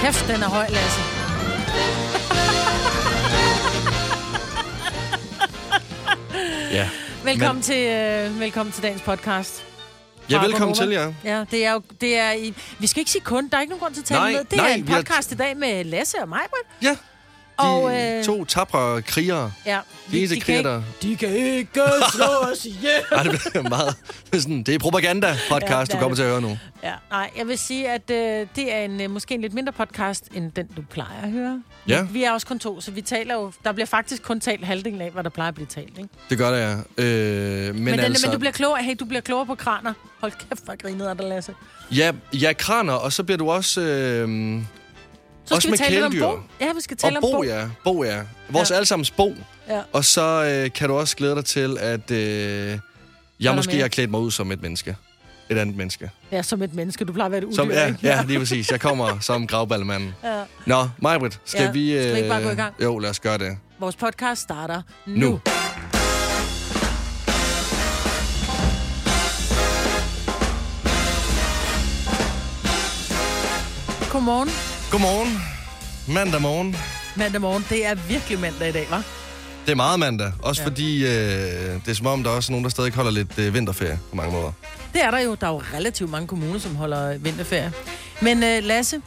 Kæft, den er høj, Lasse. Ja. Velkommen, Men... til, øh, velkommen til dagens podcast. Ja, Fra velkommen Gonova. til jer. Ja, det er jo... Det er i, vi skal ikke sige kun, der er ikke nogen grund til at tale Nej, med. Det nej, er en vi har- podcast i dag med Lasse og mig, Britt. Ja, de Og, øh... to tapre krigere. ja, De eneste kan krigere, ikke, der... de kan ikke slå os ihjel. Ej, det bliver meget... det er Sådan, det er Ja, propaganda-podcast, det ja, er du kommer det. til at høre nu. Ja, nej, jeg vil sige, at øh, det er en øh, måske en lidt mindre podcast, end den, du plejer at høre. Ja. Vi, vi er også kun to, så vi taler jo... Der bliver faktisk kun talt halvdelen af, hvad der plejer at blive talt, ikke? Det gør det, ja. Øh, men, Men, men, altså... altså... men du bliver klogere. Hey, du bliver klogere på kraner. Hold kæft, hvor grinede er der, Lasse. ja, ja, kraner, og så bliver du også... Øh, Så Også skal vi med tale lidt kæledyr. om Bo. Ja, vi skal og tale om bo, Bo. ja. Bo, ja. Vores Ja. ja. allesammens bo. Ja. Og så øh, kan du også glæde dig til, at øh, der jeg måske mere? Uh, har klædt mig ud som et menneske. Et andet menneske. ja, som et menneske. Du plejer at være et udyr, Som, ja, ikke? ja, lige præcis. Jeg kommer som gravballemanden. Ja. Nå, Majbrit, skal Ja, vi... øh, skal vi ikke bare gå i gang? Jo, lad os gøre det. Vores podcast starter nu. Nu. nu. Godmorgen. Godmorgen. Mandag morgen. Mandag morgen. Det er virkelig mandag i dag, var? Det er meget mandag. Også Ja. ja. fordi øh, det er som om, der er også nogen, der stadig holder lidt øh, vinterferie på mange måder. Det er der jo. Der er jo relativt mange kommuner, som holder vinterferie. Men øh, Lasse,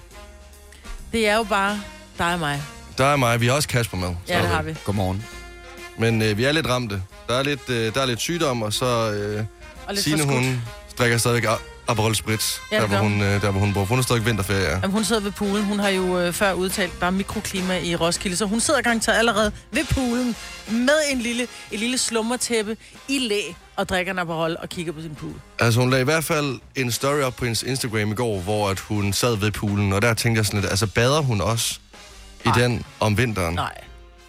det er jo bare dig og mig. Der er mig. Vi har også Kasper med. Ja, det har vi. Godmorgen. Men øh, vi er lidt ramte. Der er lidt, øh, der er lidt sygdom, og så øh, Og lidt Signe, forskudt. hun drikker stadigvæk A- Aperol Spritz, Ja, ja, der, det gør hvor hun. hun, øh, der hvor hun bor. Hun er stadig vinterferie. Ja. Jamen, hun sidder ved poolen. Hun har jo øh, før udtalt, der er mikroklima i Roskilde, så hun sidder garanteret allerede ved poolen med en lille, et lille slummertæppe i læ og drikker en Aperol og kigger på sin pool. Altså, hun lagde i hvert fald en story op på hendes Instagram i går, hvor at hun sad ved poolen, og der tænkte jeg sådan lidt, altså bader hun også i Nej. den om vinteren? Nej,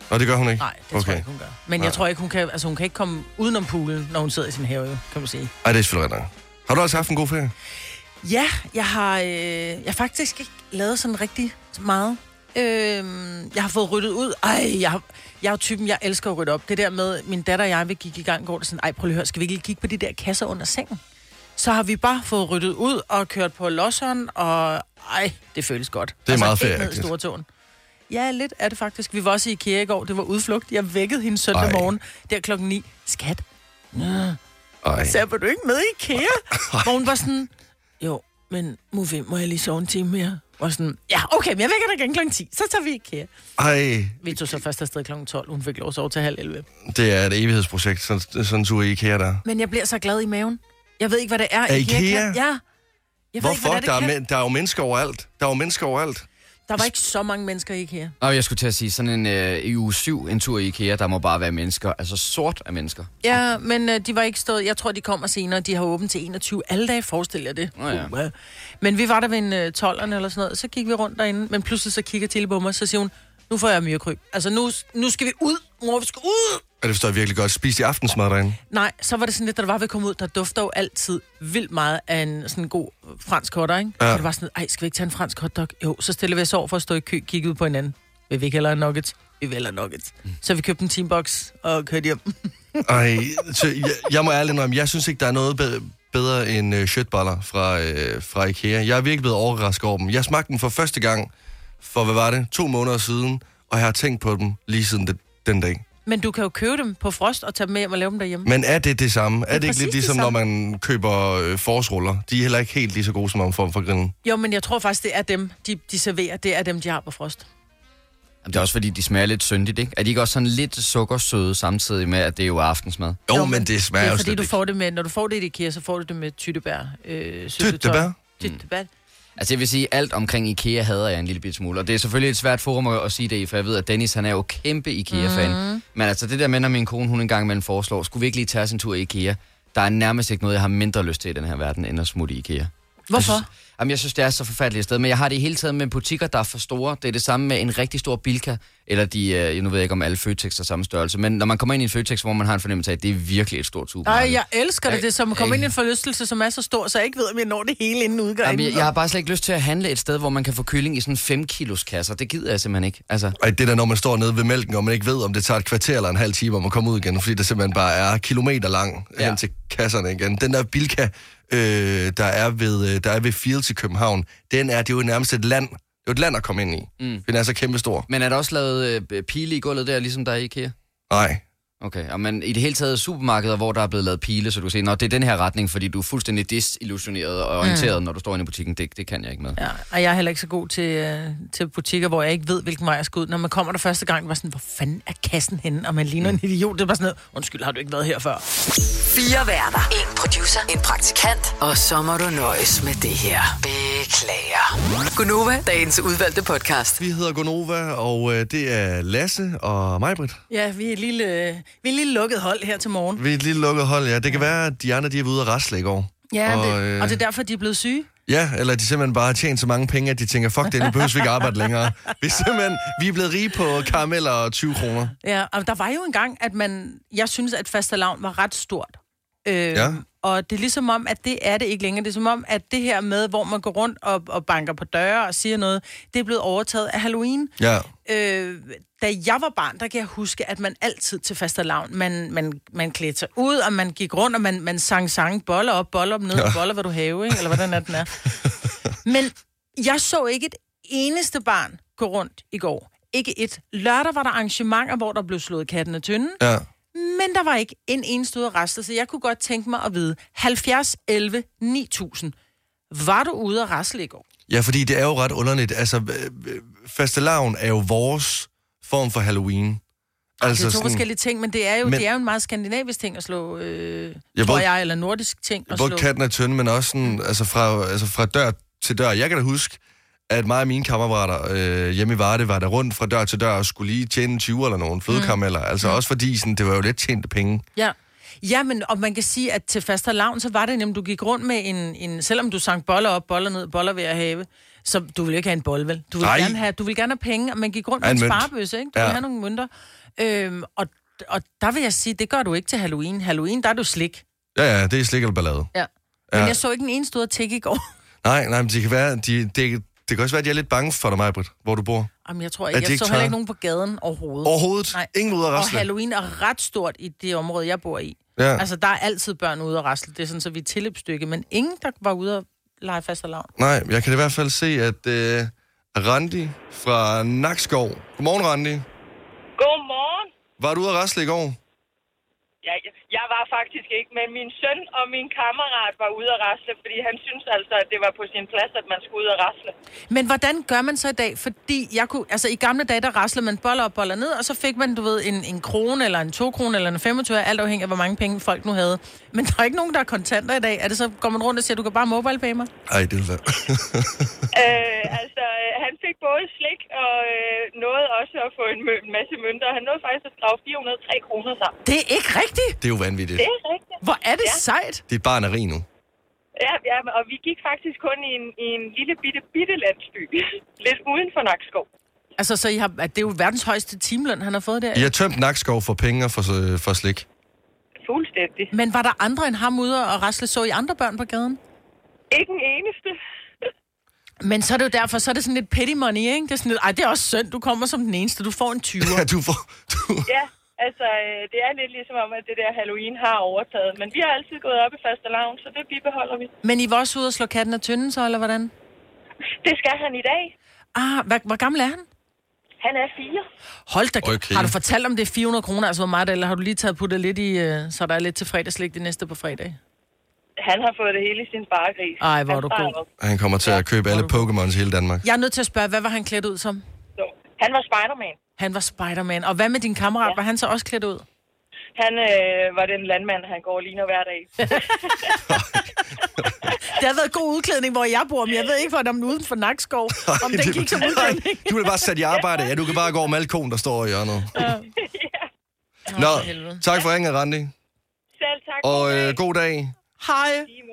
Og det gør hun ikke? nej, det okay. tror jeg ikke, hun gør. Men jeg Mm. Nej. tror ikke, hun kan, altså, hun kan ikke komme udenom poolen, når hun sidder i sin have, jo, kan man sige. Ej, det er selvfølgelig rigtigt. Har du også haft en god ferie? Ja, jeg har, øh, jeg har faktisk ikke lavet sådan rigtig meget. Øh, jeg har fået ryddet ud. Ej, jeg, har- jeg er jo typen, jeg elsker at rydde op. Det der med, min datter og jeg, vi gik i gang i går, det er sådan, ej, prøv lige at høre, skal vi ikke lige kigge på de der kasser under sengen? Så har vi bare fået ryddet ud og kørt på losseren, og ej, det føles godt. Altså, Det er meget helt ned i ferieagtigt. stortåen. Ja, lidt er det faktisk. Vi var også i IKEA i går, det var udflugt. Jeg vækkede hende søndag Ej. morgen, der klokken 9. Skat, Ej. så var du ikke med i IKEA? Hvor hun var sådan, jo, men Mufi, må jeg lige sove en time mere? Og sådan, ja, okay, men jeg vækker dig igen klokken 10, så tager vi i IKEA. Ej, Vi tog så først afsted klokken 12, hun fik lov at sove til halv 11. det er et evighedsprojekt, sådan, sådan en tur i IKEA der. Men jeg bliver så glad i maven. Jeg ved ikke, hvad det er. Er IKEA? Kan. Ja. Jeg ved ikke, Hvorfor? hvad det Der er, er, det kan. men, der er jo mennesker overalt. Der er jo mennesker overalt. Der var ikke så mange mennesker i IKEA. Og jeg skulle til at sige, sådan en øh, i uge 7, en tur i IKEA, der må bare være mennesker. Altså sort af mennesker. Ja, men øh, de var ikke stået. Jeg tror, de kommer senere. De har åbent til 21 alle dage, forestil jer det. Nå ja. Uh, men vi var der ved en øh, 12'erne eller sådan noget, så gik vi rundt derinde, men pludselig så kigger Tille på mig, så siger hun, nu får jeg myrekryb. Altså, nu, nu skal vi ud, mor, vi skal ud! Ja, det forstår jeg virkelig godt. Spis i aftensmad derinde. Nej, så var det sådan lidt, da det var ved at komme ud, der dufter jo altid vildt meget af en sådan en god øh, fransk hotter, ikke? Ja. Ja. Så det var sådan, ej, skal vi ikke tage en fransk hotdog? Jo, så stille vi os over for at stå i kø, kigge ud på hinanden. Vil vi ikke hellere have nuggets? Vi vil hellere nuggets. Så vi købte en teambox og kørte hjem. Ej, så jeg, jeg må ærligt indrømme, jeg synes ikke, der er noget be- bedre end øh, shirtballer fra, øh, fra IKEA. Jeg er virkelig blevet overrasket over dem. Jeg smagte dem for første gang for, hvad var det, to måneder siden, og jeg har tænkt på dem lige siden de, den dag. Men du kan jo købe dem på frost og tage dem med hjem og lave dem derhjemme. Men er det det samme? Er, er det ikke præcis lidt det ligesom, når man køber øh, forårsruller? De er heller ikke helt lige så gode som om form for grillen. Jo, men jeg tror faktisk, det er dem, de, de serverer. Det er dem, de har på frost. Jamen, det er også fordi, de smager lidt syndigt, ikke? Er de ikke også sådan lidt sukkersøde samtidig med, at det er jo aftensmad? Jo, jo men det Ja, smager det er jo fordi, slet du ikke. får det med, når du får det i IKEA, så får du det med tyttebær. Øh, syltetøj. Tyttebær? Tyttebær. Altså jeg vil sige, alt omkring IKEA hader jeg en lille bit smule. Og det er selvfølgelig et svært forum at, at sige det i, for jeg ved, at Dennis han er jo kæmpe IKEA-fan. Mhm. Mm. Men altså det der med, når min kone hun en gang imellem foreslår, skulle vi ikke lige tage os en tur i IKEA? Der er nærmest ikke noget, jeg har mindre lyst til i den her verden, end at smutte i IKEA. Hvorfor? Jeg synes, jamen, jeg synes, det er så forfærdeligt et sted, men jeg har det i hele taget med butikker, der er for store. Det er det samme med en rigtig stor Bilka, eller de, øh, nu ved jeg ikke om alle Føtex er samme størrelse, men når man kommer ind i en Føtex, hvor man har en fornemmelse af, at det er virkelig et stort supermarked. Nej, jeg elsker det. Ej, Det er som at komme ej. ind i en forlystelse, som er så stor, så jeg ikke ved, om jeg når det hele inden udgangen. Jamen, jeg, jeg har bare slet ikke lyst til at handle et sted, hvor man kan få kylling i sådan 5 kilos kasser. Det gider jeg simpelthen ikke. Altså, Ej, det der, når man står nede ved mælken, og man ikke ved, om det tager et kvarter eller en halv time om at komme ud igen, fordi det simpelthen bare er kilometer lang ja. Ja. hen til kasserne igen. Den der Bilka, øh, der, er ved, øh, der er ved Fields i København, den er, det er jo nærmest et land, Det er jo et land at komme ind i. Mm. Den er så kæmpestor. Men er der også lavet øh, pile i gulvet der, ligesom der er i IKEA? Nej, Okay, og men i det hele taget supermarkeder, hvor der er blevet lavet pile, så du kan se, at det er den her retning, fordi du er fuldstændig disillusioneret og orienteret, mm. når du står inde i butikken. Det, det kan jeg ikke med. Ja, og jeg er heller ikke så god til, øh, til butikker, hvor jeg ikke ved, hvilken vej jeg skal ud. Når man kommer der første gang, var sådan, hvor fanden er kassen henne? Og man ligner Mm. en idiot. Det var sådan noget, undskyld, har du ikke været her før? Fire værter. En producer. En praktikant. Og så må du nøjes med det her. Beklager. Gunova, dagens udvalgte podcast. vi hedder Gonova, og øh, det er Lasse og Majbrit. Ja, vi er et lille, øh, vi er et lille lukket hold her til morgen. Vi er et lille lukket hold, ja. Det kan være, at de andre de er ude at rasle i går. Ja, og, og, det, øh, og det er derfor, de er blevet syge. Ja, eller de simpelthen bare har tjent så mange penge, at de tænker, fuck det, nu behøver vi ikke arbejde længere. Vi er simpelthen, vi er blevet rige på karameller og 20 kroner. Ja, og der var jo en gang, at man, jeg synes, at fastelavn var ret stort. Øh, Ja. Og det er ligesom om, at det er det ikke længere. Det er som om, at det her med, hvor man går rundt og, og banker på døre og siger noget, det er blevet overtaget af Halloween. Ja, øh, da jeg var barn, der kan jeg huske, at man altid til fastelavn, man, man, man klædte sig ud, og man gik rundt, og man, man sang sang, boller op, boller op, ned, ja. boller, hvad du have, ikke? eller hvordan er den er. Men jeg så ikke et eneste barn gå rundt i går. Ikke et. Lørdag var der arrangementer, hvor der blev slået katten af tynden, ja. men der var ikke en eneste ude at raste, så jeg kunne godt tænke mig at vide, 70, 11, 9000, var du ude at rasle i går? Ja, fordi det er jo ret underligt. Altså, øh, øh, fastelavn er jo vores form for Halloween. Altså Det er to forskellige ting, men det er jo, Altså, Men- men, det er jo en meget skandinavisk ting at slå, øh, Jeg jeg tror ved- jeg, eller nordisk ting at slå. Både katten er tynde, men også sådan, altså fra, altså fra dør til dør. Jeg kan da huske, at mig og mine kammerater øh, hjemme i Varde var der rundt fra dør til dør og skulle lige tjene 20 eller nogen flødekarameller. Altså også fordi sådan, det var jo let tjente penge. Ja. ja, men og man kan sige, at til faste lavn, så var det nemlig, du gik rundt med en, en selvom du sang boller op, boller ned, boller ved at have, så du ville ikke have en bold, vel? Du ville, Nej. gerne have, du ville gerne have penge, og man gik rundt med Ja, en en mønt. sparebøsse, ikke? Du ja. Ja. ville have nogle mønter. Øhm, og, og der vil jeg sige, det gør du ikke til Halloween. Halloween, der er du slik. Ja, ja, det er slik eller ballade. Ja. Men Ja. jeg så ikke en eneste ud at tække i går. Nej, nej, men det kan, være, de, det, det kan også være, at de er lidt bange for dig, Majbrit, hvor du bor. Jamen, jeg tror Er ikke. de Jeg ikke så heller tørre? ikke nogen på gaden overhovedet. Overhovedet. Nej. Ingen ud af Og resten. Halloween er ret stort i det område, jeg bor i. Ja. Altså, der er altid børn ude og rasle. Det er sådan, så vi er et tilløbsstykke. Men ingen, der var ude og lege fast og Nej, jeg kan i hvert fald se, at øh, Randi fra Nakskov. Godmorgen, Randi. Godmorgen. Var du ude at rasle i går? Ja, jeg- jeg var faktisk ikke, men min søn og min kammerat var ude at rasle, fordi han synes altså, at det var på sin plads, at man skulle ud at rasle. Men hvordan gør man så i dag? Fordi jeg kunne, altså, i gamle dage, der raslede man boller og boller ned, og så fik man, du ved, en, en krone, eller en to krone, eller en 25, alt afhængig af, hvor mange penge folk nu havde. Men der er ikke nogen, der er kontanter i dag. Er det så, går man rundt og siger, du kan bare mobile pay mig? Nej, det var... Øh, altså, øh, han fik både slik og øh, nåede også at få en, mø- en masse mønter. Han nåede faktisk at skrave 403 kroner sammen. Det er ikke rigtigt! det er jo vanvittigt. Det er rigtigt. Hvor er det ja. sejt! Dit barn er rig nu. Ja, ja, og vi gik faktisk kun i en, i en lille bitte, bitte landsby. Lidt uden for Nakskov. Altså, så I har, at det er jo verdens højeste timeløn, han har fået der. I har tømt Nakskov for penge og for, for slik. Fuldstændig. Men var der andre end ham ude og rasle? Så I andre børn på gaden? Ikke en eneste. Men så er det jo derfor, så er det sådan lidt petty money, ikke? Det er sådan lidt, ej, det er også synd, du kommer som den eneste, du får en 20. Ja, du får... Du... Ja, altså, øh, det er lidt ligesom om, at det der Halloween har overtaget. Men vi har altid gået op i faste lavn, så det bibeholder vi. Men I var også ude og slå katten af tynden, så, eller hvordan? Det skal han i dag. Ah, hvad, hvor gammel er han? Han er fire. Hold da Okay. okay. Har du fortalt om det er 400 kroner, altså hvor meget, det er, eller har du lige taget puttet lidt i, øh, så der er lidt til fredagslæg det næste på fredag? Han har fået det hele i sin sparegris. Ej, hvor er Han du sparer god. op. Han kommer til at købe alle Pokémons i hele Danmark. Jeg er nødt til at spørge, hvad var han klædt ud som? Så, han var Spider-Man. Han var Spider-Man. Og hvad med din kammerat? Ja. Var han så også klædt ud? Han øh, var den landmand, han går og ligner hver dag. Det har været god udklædning, hvor jeg bor, men jeg ved ikke, hvordan den uden for Nakskov, om den gik som udklædning. Du bliver bare sat i arbejde. Ja, du kan bare gå over med alkohol, der står i hjørnet. Nå, tak for ringen, Randi. Selv tak. Og god dag. øh, god dag. Hej. I lige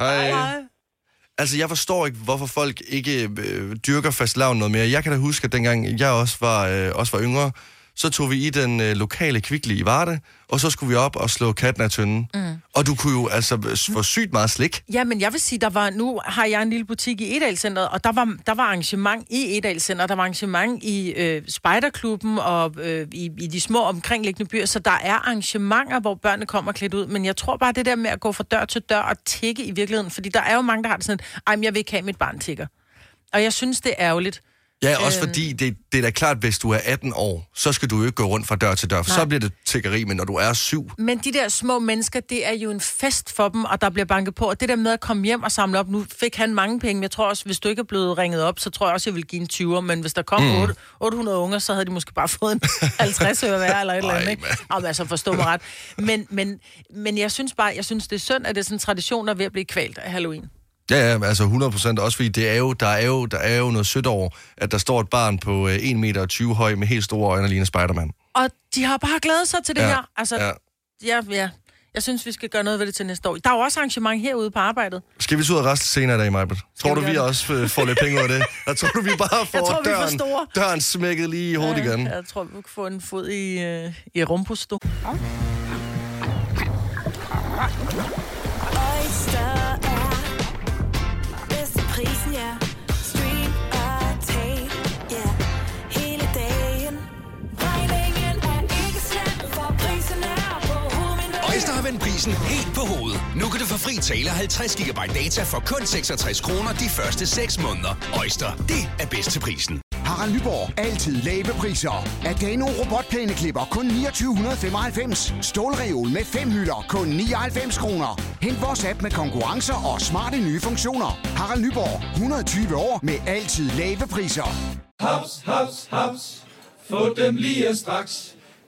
måde. Hej. Altså, jeg forstår ikke, hvorfor folk ikke øh, dyrker fastelavn noget mere. Jeg kan da huske, at dengang jeg også var, øh, også var yngre, så tog vi i den øh, lokale kvikli i Varde, og så skulle vi op og slå katten af tynden. Mm. Og du kunne jo altså s- få sygt meget slik. Ja, men jeg vil sige, der var, nu har jeg en lille butik i Edalcenteret, og der var, der var arrangement i Edalcenteret, der var arrangement i øh, Spejderklubben og øh, i, i de små omkringliggende byer, så der er arrangementer, hvor børnene kommer klædt ud, men jeg tror bare, det der med at gå fra dør til dør og tække i virkeligheden, fordi der er jo mange, der har det sådan, ej, men jeg vil ikke have at mit barn tigger. Og jeg synes, det er ærgerligt. Ja, også fordi det, det er da klart, hvis du er 18 år, så skal du jo ikke gå rundt fra dør til dør, for Nej. så bliver det tiggeri, men når du er syv, Men de der små mennesker, det er jo en fest for dem, og der bliver banket på. Og det der med at komme hjem og samle op, nu fik han mange penge, men jeg tror også, hvis du ikke er blevet ringet op, så tror jeg også, jeg ville give en 20'er. Men hvis der kom mm. 8, 800 unger, så havde de måske bare fået en 50 øre hver eller et eller andet. Ej, Ikke? mand. Ej, men altså, forstå mig ret. Men, men, men jeg synes bare, jeg synes, det er synd, at det er sådan en tradition, der er ved at blive kvalt af Halloween. Ja, ja, altså 100 procent. Også fordi det er jo, der, er jo, der er jo noget sødt over, at der står et barn på øh, 1,20 meter høj med helt store øjne og ligner Spider-Man. Og de har bare glædet sig til det Ja, ja. her. Altså, Ja. ja. ja, ja. Jeg synes, vi skal gøre noget ved det til næste år. Der er jo også arrangement herude på arbejdet. Skal vi så ud og reste senere i dag, Majbert? Tror vi du, gøre vi det? også øh, får lidt penge ud af det? Jeg tror du, vi bare får tror, vi er for døren, store. døren smækket lige i hovedet igen? Jeg tror, vi kan få en fod i, øh, i rumpusto. Oyster er bedst til prisen, ja. Stream og tag, ja. Hele dagen. Regningen er ikke slem, for prisen er på hovedet. Øjster har vendt prisen helt på hovedet. Nu kan du få fri tale 50 GB data for kun 66 kroner de første 6 måneder. Øjster, det er bedst til prisen. Harald Nyborg. Altid lave priser. Adano robotplæneklipper kun 2995. Stålreol med fem hylder kun 99 kroner. Hent vores app med konkurrencer og smarte nye funktioner. Harald Nyborg. 120 år med altid lave priser. Haps, haps, haps. Få dem lige straks.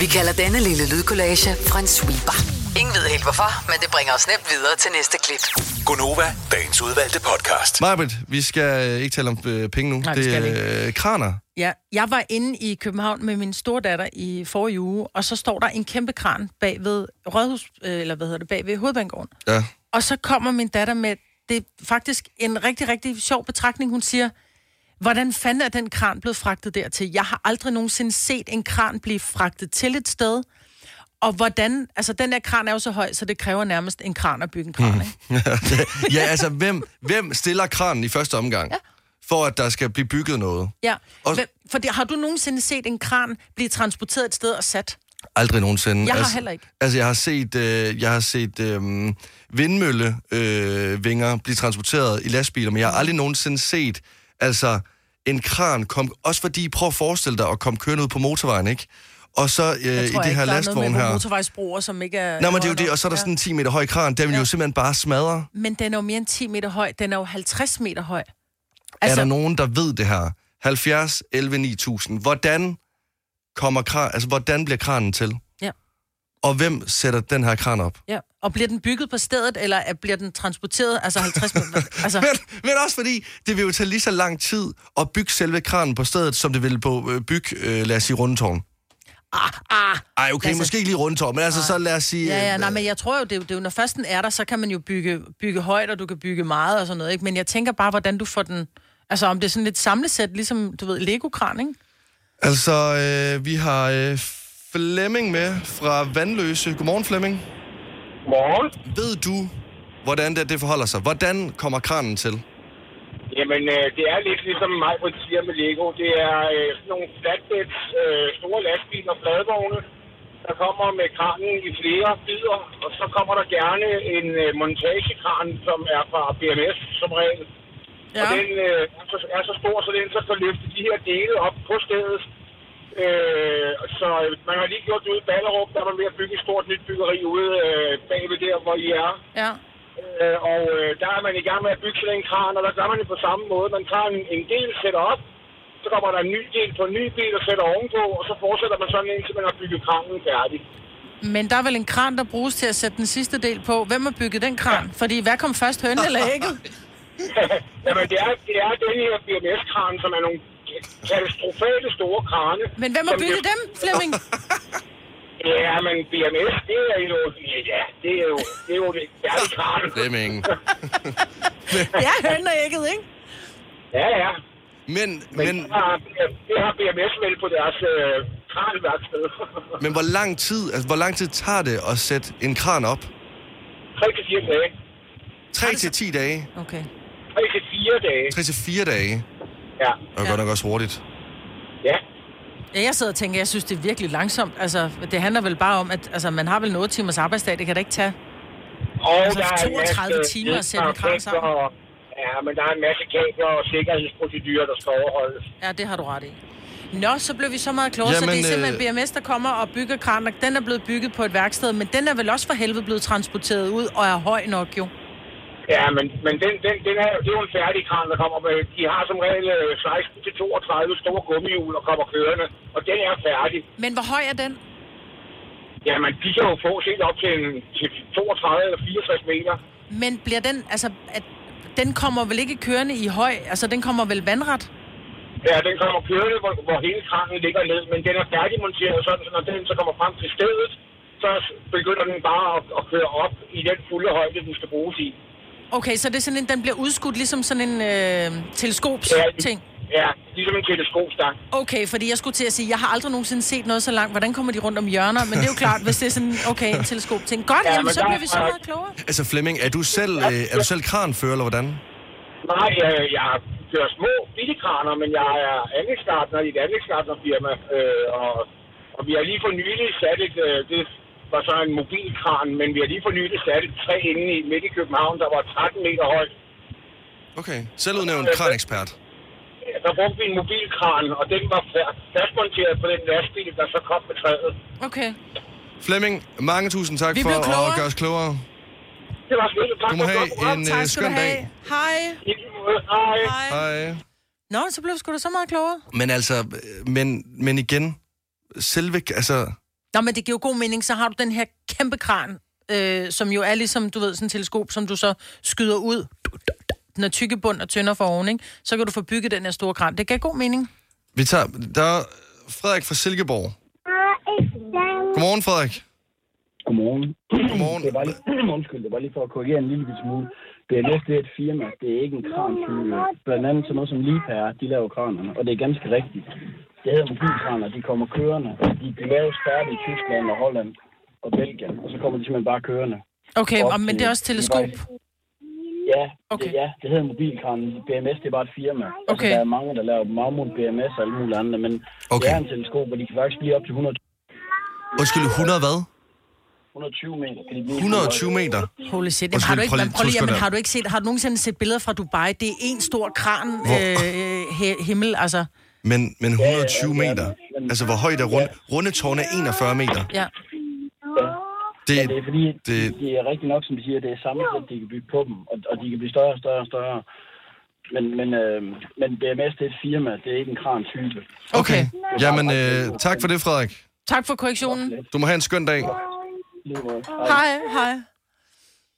Vi kalder denne lille lydkollage en sweeper. Ingen ved helt hvorfor, men det bringer os nemt videre til næste klip. Gonova, dagens udvalgte podcast. Majbert, vi skal øh, ikke tale om øh, penge nu. Nej, vi det skal er øh, kraner. Ja, jeg var inde i København med min store datter i forrige uge, og så står der en kæmpe kran bag ved Rådhus, øh, eller hvad hedder det, bag ved Hovedbanegården. Ja. Og så kommer min datter med, det er faktisk en rigtig, rigtig sjov betragtning, hun siger, hvordan fanden er den kran blevet fragtet dertil? Jeg har aldrig nogensinde set en kran blive fragtet til et sted, og hvordan, altså den der kran er jo så høj, så det kræver nærmest en kran at bygge en Mhm. kran, ikke? ja, altså hvem, hvem stiller kranen i første omgang, ja. for at der skal blive bygget noget? Ja, Og- og... for det, har du nogensinde set en kran blive transporteret et sted og sat? Aldrig nogensinde. Jeg har heller ikke. Mm, Altså, jeg har set, øh, jeg har set øh, vindmøllevinger øh, vinger blive transporteret i lastbiler, men jeg har aldrig nogensinde set, altså, en kran kom, også fordi, prøv at forestille dig at komme kørende ud på motorvejen, ikke? Og så øh, i Jeg det tror her ikke, der er noget lastvogn med på her. motorvejsbroer, som ikke er... Nej, men det er jo høje det, nok. og så er der Ja. sådan en 10 meter høj kran, den vil jo simpelthen bare smadre. Men den er jo mere end 10 meter høj. Den er jo 50 meter høj. Altså... Er Altså, der nogen, der ved det her? 70, 11, 9000. Hvordan kommer kran, altså, hvordan bliver kranen til? Ja. Og hvem sætter den her kran op? ja. Og bliver den bygget på stedet, eller er- bliver den transporteret? Altså 50 meter... Altså, Men, men også fordi, det vil jo tage lige så lang tid at bygge selve kranen på stedet, som det ville på øh, bygge, øh, lad os sige, rundetårn. ah, ah. Ej, okay, Lad os- måske ikke lige rundetårn, men altså så lad os sige... Ja, ja, nej, øh, men jeg tror jo, det er, jo- det er jo, når først den er der, så kan man jo bygge, bygge højt, og du kan bygge meget og sådan noget, ikke? Men jeg tænker bare, hvordan du får den... Altså, om det er sådan lidt samlesæt, ligesom, du ved, Lego-kran, ikke? Altså, øh, vi har øh, Flemming med fra Vandløse. Godmorgen, Flemming. Morgen. Ved du, hvordan det, det forholder sig? Hvordan kommer kranen til? Jamen, øh, det er lidt ligesom mig på siger med Lego. Det er øh, sådan nogle flatbeds, øh, store lastbiler, fladvogne, der kommer med kranen i flere bidder, og så kommer der gerne en øh, montagekran, som er fra BMS som regel. Ja. Og den øh, er så- er så stor, så den så kan løfte de her dele op på stedet. Øh, så øh, man har lige gjort det ude i Ballerup, der var ved at bygge et stort nyt byggeri ude øh, bagved der, hvor I er. Ja. Øh, og øh, der er man i gang med at bygge sådan en kran, og der gør man det på samme måde. Man tager en, en del, sætter op, så kommer der en ny del på en ny del og sætter ovenpå, og så fortsætter man sådan indtil man har bygget kranen færdig. Men der er vel en kran, der bruges til at sætte den sidste del på. Hvem har bygget den kran? Fordi hvad kom først, høn eller ægget? Jamen, det er, det er den her BMS-kran, som er nogle katastrofale store krane. Men hvem har som bygget dem, Flemming? Ja, men BMS, det er jo... Ja, det er jo det, er jo det færdige kran. Flemming. Det er høn og ægget, ikke? Ja, ja. Men, men... men... Det, har, det har BMS vel på deres øh, kranværksted. Men hvor lang tid, altså, hvor lang tid tager det at sætte en kran op? 3 til 4 dage. 3 til 10 dage? Okay. 3 til 4 dage. 3 til 4 dage? Ja. Det var godt nok også hurtigt. Ja. Ja, jeg sidder og tænker, jeg synes, det er virkelig langsomt. Altså, det handler vel bare om, at altså, man har vel en 8 timers arbejdsdag. Det kan da ikke tage Og altså, der er en 32 masse timer at sætte en kran ledningsaftaler sammen. og- Ja, men der er en masse kabler og sikkerhedsprocedurer, der skal overholdes. Ja, det har du ret i. Nå, så blev vi så meget klogere, så Jamen, det er simpelthen BMS, der kommer og bygger kran, og den er blevet bygget på et værksted, men den er vel også for helvede blevet transporteret ud og er høj nok jo. Ja, men, men den, den, den er, det er jo en færdig kran, der kommer med. De har som regel øh, 16-32 store gummihjul og kommer kørende, og den er færdig. Men hvor høj er den? Jamen, de kan jo få helt op til, en, til 32 eller 64 meter. Men bliver den, altså, at, den kommer vel ikke kørende i høj, altså den kommer vel vandret? Ja, den kommer kørende, hvor, hvor hele kranen ligger ned, men den er færdigmonteret, sådan, så når den så kommer frem til stedet, så s- begynder den bare at, at køre op i den fulde højde, den skal bruges i. Okay, så det er sådan en, den bliver udskudt ligesom sådan en øh, teleskops-ting? Ja, ligesom en teleskopstang. Okay, fordi jeg skulle til at sige, jeg har aldrig nogensinde set noget så langt. Hvordan kommer de rundt om hjørner? Men det er jo klart, hvis det er sådan, okay, en teleskop-ting. Godt, Ja, ja, jamen, men så der bliver vi så er- meget klogere. Altså Flemming, er du selv, øh, er du selv kranfører, eller hvordan? Nej, jeg, jeg kører små, bitte kraner, men jeg er anlægsgartner i et anlægsgartnerfirma, øh, og, og vi har lige for nylig sat et, øh, det var så en mobilkran, men vi har lige for nylig sat et træ inde i midt i København, der var 13 meter højt. Okay, selvudnævnt kranekspert. Ja, der brugte vi en mobilkran, og den var fa- fastmonteret på den lastbil, der så kom med træet. Okay. Flemming, mange tusind tak Vi for blev klogere. at gøre os klogere. Det var smidt. Tak Du må for et have godt program. en øh, skøn dag. Hej. Hej. Hej. Nå, så blev vi sgu da så meget klogere. Men altså, øh, men, men igen, selve, altså, Nå, men det giver jo god mening. Så har du den her kæmpe kran, øh, som jo er ligesom, du ved, sådan en teleskop, som du så skyder ud. Den er tykke bund og tynder for oven, ikke? Så kan du få bygget den her store kran. Det gav god mening. vi tager, der er Frederik fra Silkeborg. Godmorgen, Frederik. Godmorgen. Godmorgen. Det var lige, undskyld, det var lige for at korrigere en lille bit smule. Det er næste et firma, det er ikke en kranfyr. Blandt andet sådan noget som Lipa, de laver kranerne, og det er ganske rigtigt. Det hedder mobilkraner, de kommer kørende, og de, de laves færdige i Tyskland og Holland og Belgien, og så kommer de simpelthen bare kørende. Okay, Op og, men til- det er også teleskop. Ja, okay. det, ja, det hedder mobilkranen. BMS, det er bare et firma. Okay. Altså, der er mange, der laver Mammut, BMS og alle mulige andre, men okay. det er en teleskop, og de kan faktisk blive op til 100, Undskyld, 100 hvad? 120 meter. kan de blive. 120 meter? Holy shit. Jamen, har du ikke, prøv lige, prøv lige, jamen, har du ikke set, har du nogensinde set billeder fra Dubai? Det er en stor kran øh, he- himmel, altså. Men, men 120 meter? Altså, hvor højt er runde? Rundetårn er 41 meter. Ja. Det, ja, det er fordi, det, de er rigtig nok, som de siger, det er samlet, de kan bygge på dem, og, og de kan blive større og større og større. Men, men, øh, men BMS, det er et firma, det er ikke en kran-type. Okay. Jamen, øh, tak for det, Frederik. Tak for korrektionen. Du må have en skøn dag. Hej, hej.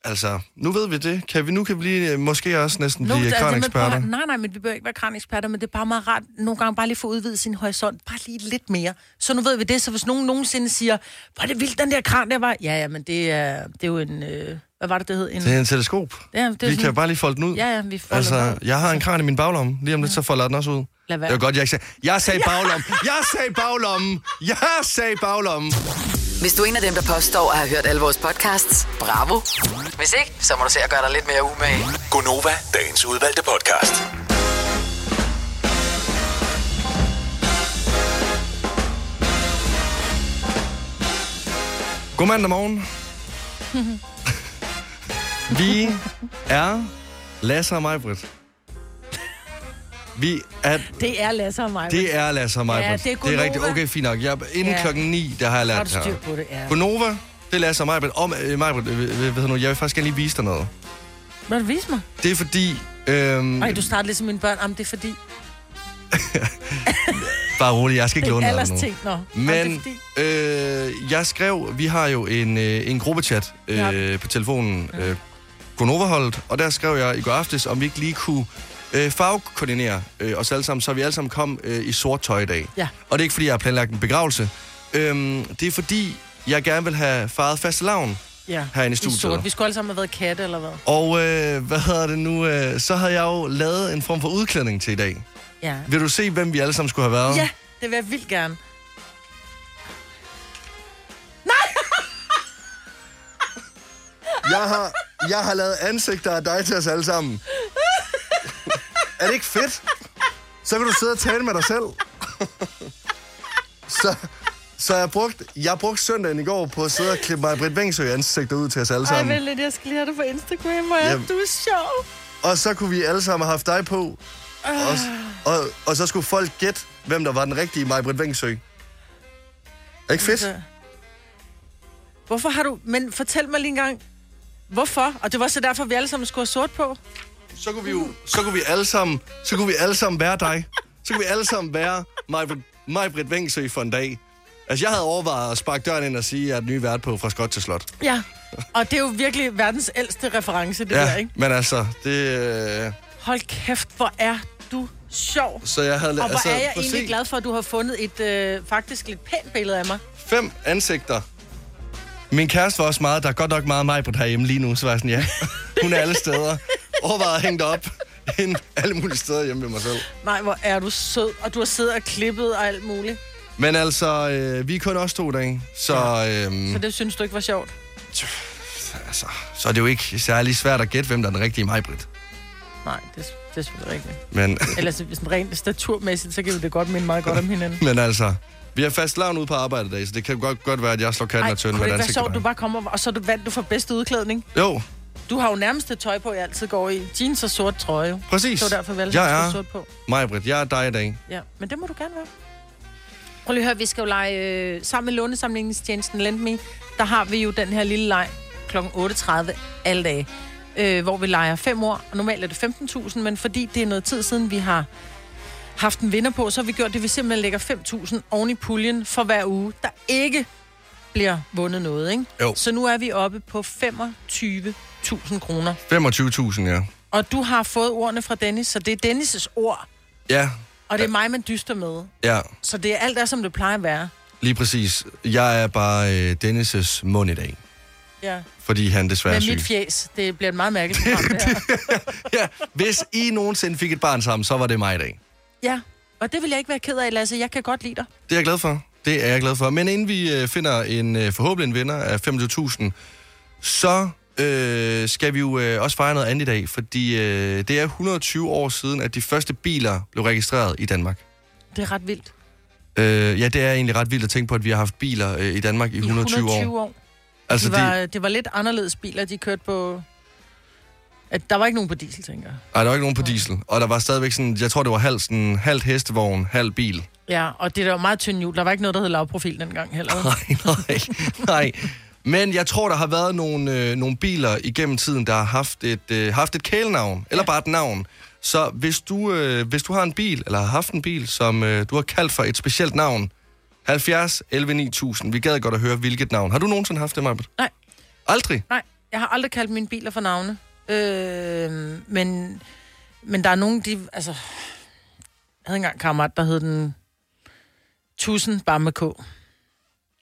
Altså, nu ved vi det. Kan vi, nu kan vi lige, øh, måske også næsten Nu, blive altså, men prøv at høre, kraneksperter. nej, nej, men vi behøver ikke være kraneksperter, men det er bare meget rart nogle gange bare lige få udvidet sin horisont, bare lige lidt mere. Så nu ved vi det, så hvis nogen nogensinde siger, hvor er det vildt, den der kran der var, ja, ja, men det er, det er jo en, øh, hvad var det, det hed? En, Det er en teleskop. Ja, det er vi sådan- kan bare lige folde den ud. Ja, ja, vi folder den Altså, jeg har en kran i min baglomme. Lige om lidt, så folder jeg den også ud. Lad være. Det var godt, jeg ikke sagde. Jeg sagde baglomme. Jeg sagde baglomme. Jeg sagde baglomme. Hvis du er en af dem, der påstår at have hørt alle vores podcasts, bravo. Hvis ikke, så må du se at gøre dig lidt mere umage. Gonova, dagens udvalgte podcast. God mandag morgen. Vi er Lasse og Majbrit. Vi er... Det er Lasse og mig. Det er Lasse og Majbrit. Ja, det er det er rigtigt. Gunova. Okay, fint nok. Jeg, inden Ja. ja. klokken 9, der har jeg Så lært har du det her. styr på det, ja. Gonova, det er Lasse og Majbrit. Om, øh, Majbrit, øh, øh, hvad hedder nu, jeg vil faktisk gerne lige vise dig noget. Må du vise mig? Det er fordi... Øhm, Nej, du starter ligesom mine børn. Jamen, det er fordi... Bare rolig, jeg skal ikke Det er låne alders noget nu. ting, nå. Jamen, det er Men øh, jeg skrev, vi har jo en, øh, en gruppechat øh, Ja. på telefonen, øh, Gonova-holdet, og der skrev jeg i går aftes, om vi ikke lige kunne øh, farvekoordinere øh, os alle sammen, så vi alle sammen kom øh, i sort tøj i dag. Ja. Og det er ikke, fordi jeg har planlagt en begravelse. Øhm, det er, fordi jeg gerne vil have faret faste lavn Ja. herinde i I studiet. sort. Vi skulle alle sammen have været katte, eller hvad? Og øh, hvad hedder det nu? Øh, så havde jeg jo lavet en form for udklædning til i dag. Ja. Vil du se, hvem vi alle sammen skulle have været? Ja, det vil jeg vildt gerne. Nej! Jeg har, jeg har lavet ansigter af dig til os alle sammen. er det ikke fedt? Så kan du sidde og tale med dig selv. så, så jeg brugte jeg brugte søndagen i går på at sidde og klippe mig Britt Vengsø ansigter ud til os alle Ej, sammen. vent lidt, jeg skal lige have det på Instagram, og jeg, Jamen. du er sjov. Og så kunne vi alle sammen have haft dig på. Og, s- og, og så skulle folk gætte, hvem der var den rigtige Majbrit Vengsø. Er ikke fedt? Hvorfor har du... Men fortæl mig lige en gang, hvorfor? Og det var så derfor, vi alle sammen skulle have sort på. Så kunne vi jo... Så kunne vi alle sammen, så kunne vi alle sammen være dig. Så kunne vi alle sammen være Majbrit- Majbrit Vengsø for en dag. Altså, jeg havde overvejet at sparke døren ind og sige, at jeg er den nye vært på Fra Skot til Slot. Ja, og det er jo virkelig verdens ældste reference, det ja. der, ikke? men altså, det... øh, Hold kæft, hvor er du sjov. Så jeg havde... Og hvor altså, altså, er jeg prøv at se. egentlig glad for, at du har fundet et øh, faktisk lidt pænt billede af mig. Fem ansigter. Min kæreste var også meget, der er godt nok meget mig på herhjemme lige nu, så var jeg sådan, ja, hun er alle steder. Overvejet hængt op hende alle mulige steder hjemme ved mig selv. Nej, hvor er du sød, og du har siddet og klippet og alt muligt. Men altså, øh, vi er kun også to dage, så, ja. Mm. Så øhm, det synes du ikke var sjovt? altså, så er det jo ikke særlig svært at gætte, hvem der er den rigtige mig, Britt. Nej, det, det er selvfølgelig rigtigt. Men, Ellers sådan rent staturmæssigt, så kan vi det godt minde meget godt om hinanden. men altså, vi har fast lavn ude på arbejde i dag, så det kan godt, godt være, at jeg slår katten af kunne tønden det med et ikke være ansigt. sjovt, du bare kommer, og så du vandt du for bedste udklædning? Jo, Du har jo nærmest det tøj på, jeg altid går i. Jeans og sort trøje. jo. præcis. Det var derfor, vi alle sammen jeg skulle er sort på. mig, Britt. Jeg er dig i dag. Ja, men det må du gerne være. Prøv lige at høre, vi skal jo lege øh, sammen med lånesamlingstjenesten LendMe. Der har vi jo den her lille leg kl. 8.30 alle dage, øh, hvor vi leger 5 år. Og normalt er det 15.000, men fordi det er noget tid siden, vi har haft en vinder på, så har vi gjort det, at vi simpelthen lægger 5.000 oven i puljen for hver uge, der ikke bliver vundet noget, ikke? Jo. Så nu er vi oppe på 25.000 kroner. 25.000, ja. Og du har fået ordene fra Dennis, så det er Dennis' ord, Ja, og det er mig, man dyster med. ja. Så det er alt er, som det plejer at være. Lige præcis. Jeg er bare øh, Dennis' mund i dag, Ja. fordi han desværre er Med syg. mit fjes. Det bliver et meget mærkeligt program, det her. Hvis I nogensinde fik et barn sammen, så var det mig i dag. Ja, og det vil jeg ikke være ked af, Lasse. Jeg kan godt lide dig. Det er jeg glad for. Det er jeg glad for. Men inden vi øh, finder en øh, forhåbentlig en vinder af 25.000, så øh, skal vi jo øh, også fejre noget andet i dag, fordi øh, det er 120 år siden, at de første biler blev registreret i Danmark. Det er ret vildt. Øh, ja, det er egentlig ret vildt at tænke på, at vi har haft biler øh, i Danmark i 120, 120 år. år. Altså, Altså, det, var, de, det var lidt anderledes biler, de kørte på... At der var ikke nogen på diesel, tænker jeg. ej, der var ikke nogen på diesel, og der var stadigvæk sådan, jeg tror, det var halv, sådan, halvt hestevogn, halv bil. Ja, og det der var meget tynd hjul. Der var ikke noget, der hed lavprofil dengang heller. Nej, nej, nej. Men jeg tror, der har været nogle, øh, nogle biler igennem tiden, der har haft et, øh, haft et kælenavn, eller bare et navn. Så hvis du, øh, hvis du har en bil, eller har haft en bil, som øh, du har kaldt for et specielt navn, 70 11 9000, vi gad godt at høre, hvilket navn. Har du nogensinde haft det, Marbet? Nej. Aldrig? Nej, jeg har aldrig kaldt mine biler for navne. Øh, men, men der er nogen, de... Altså, jeg havde engang en kammerat, der hed den... Tusind, bare med K.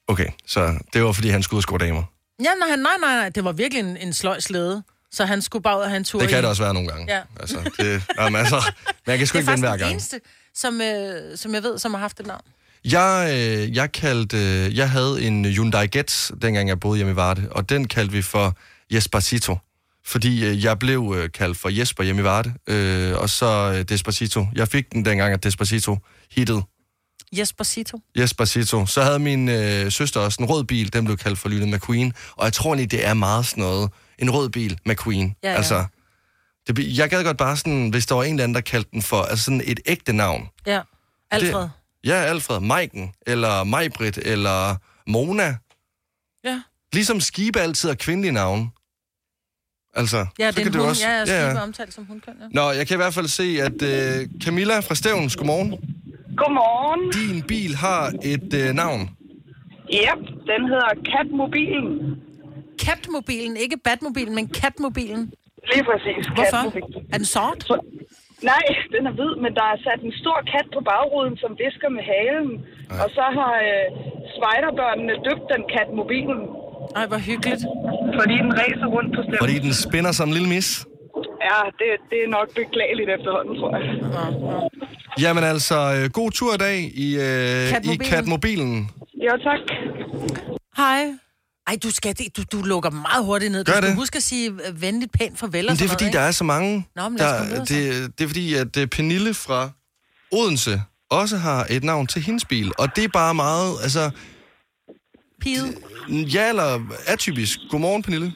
Okay, så det var, fordi han skulle ud og score damer. Ja, nej, nej, nej, nej. Det var virkelig en, en sløj slæde. Så han skulle bare ud og have en tur Det kan i. det også være nogle gange. Ja. Altså, det, jamen, altså, men jeg kan sgu det ikke er vinde faktisk hver den gang. eneste, som, øh, som jeg ved, som har haft det navn. Jeg, øh, jeg, kaldte, øh, jeg havde en Hyundai Getz, dengang jeg boede hjemme i Varde, og den kaldte vi for Jespacito. Fordi øh, jeg blev øh, kaldt for Jesper hjemme i Varde, øh, og så øh, Despacito. Jeg fik den dengang, at Despacito hittede Jesper Sito. Jespacito. Så havde min øh, søster også en rød bil, den blev kaldt for Lynet McQueen. Og jeg tror egentlig, det er meget sådan noget. En rød bil, McQueen. Ja, ja. Altså, det, bl- jeg gad godt bare sådan, hvis der var en eller anden, der kaldte den for altså sådan et ægte navn. Ja. Alfred. Det... Ja, Alfred. Maiken, eller Majbrit, eller Mona. Ja. Ligesom skibe altid har kvindelige navne. Altså, Ja, så det er kan en jo hund. også... Også... Ja, jeg skal ja, ja. omtalt som hundkøn. Ja. Nå, jeg kan i hvert fald se, at øh, Camilla fra Stævns, godmorgen. Godmorgen. Din bil har et øh, navn. Ja, den hedder Katmobilen. Katmobilen, ikke Batmobilen, men Katmobilen. Lige præcis. Hvorfor? Katmobilen. Er den sort? Nej, den er hvid, men der er sat en stor kat på bagruden, som visker med halen. Og så har øh, spejderbørnene døbt den Katmobilen. Ej, hvor hyggeligt. fordi den ræser rundt på stemmen. Fordi den spinner som en lille mis. Ja, det, det er nok beklageligt efterhånden, tror jeg. Jamen altså, øh, god tur i dag i, øh, Katmobilen. i katmobilen. Jo, tak. Hej. Ej, du, skal, det- du, du lukker meget hurtigt ned. Gør du skal det. huske at sige øh, venligt pænt farvel og Men det er sådan fordi, noget, der er så mange. Nå, men lad os komme der, videre, det, det er fordi, at øh, Pernille fra Odense også har et navn til hendes bil. Og det er bare meget, altså... Pide. Ja, eller atypisk. Godmorgen, Pernille.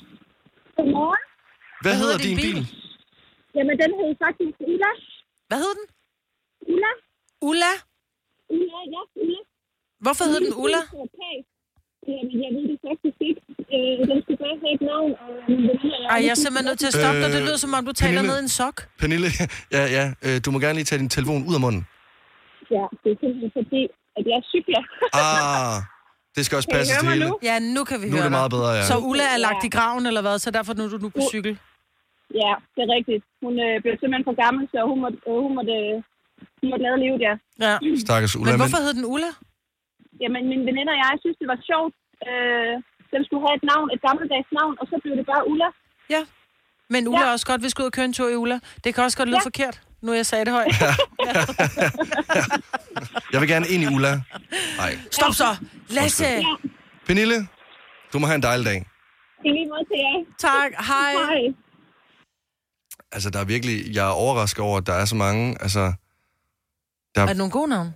Godmorgen. Hvad, Hvad hedder din bil? bil? Jamen, den hed faktisk Ulla. Hvad hed den? Ulla. Ulla? Ulla, ja, Ulla. Hvorfor hed den Ulla? Ulla? skulle til at tage. Jamen, jeg ved det faktisk ikke. Øh, den skulle bare have et navn, og øh, den her... Ej, jeg er simpelthen nødt til at stoppe dig. Det Øh, lyder som om, du taler Pernille. ned i en sok. Pernille, ja, ja, øh, du må gerne lige tage din telefon ud af munden. Ja, det er simpelthen fordi, at jeg cykler. Ah, det skal også Kan I passe høre til mig hele. nu? Ja, nu kan vi Nu er høre det dig. meget bedre, ja. Så Ulla er lagt i graven, eller hvad? Så derfor nu er du nu på U- cykel. ja, det er rigtigt. Hun øh, blev simpelthen for gammel, så hun måtte, øh, hun måtte, øh, hun måtte lade livet, ja. Ja. Stakkels Ulla. Men hvorfor hed den Ulla? Jamen, min veninde og jeg synes, det var sjovt. Øh, den skulle have et navn, et gammeldags navn, og så blev det bare Ulla. Ja, Men Ulla er også godt, vi skal ud og køre en tur i Ulla. Det kan også godt lyde Ja. forkert, nu jeg sagde det højt. Jeg vil gerne ind i Ulla. Nej. Stop så! Lasse! Pernille, du må have en dejlig dag. I lige måde til jer. Tak, hej. Hej. Altså, der er virkelig... Jeg er overrasket over, at der er så mange... Altså, der, Er det nogle gode navne?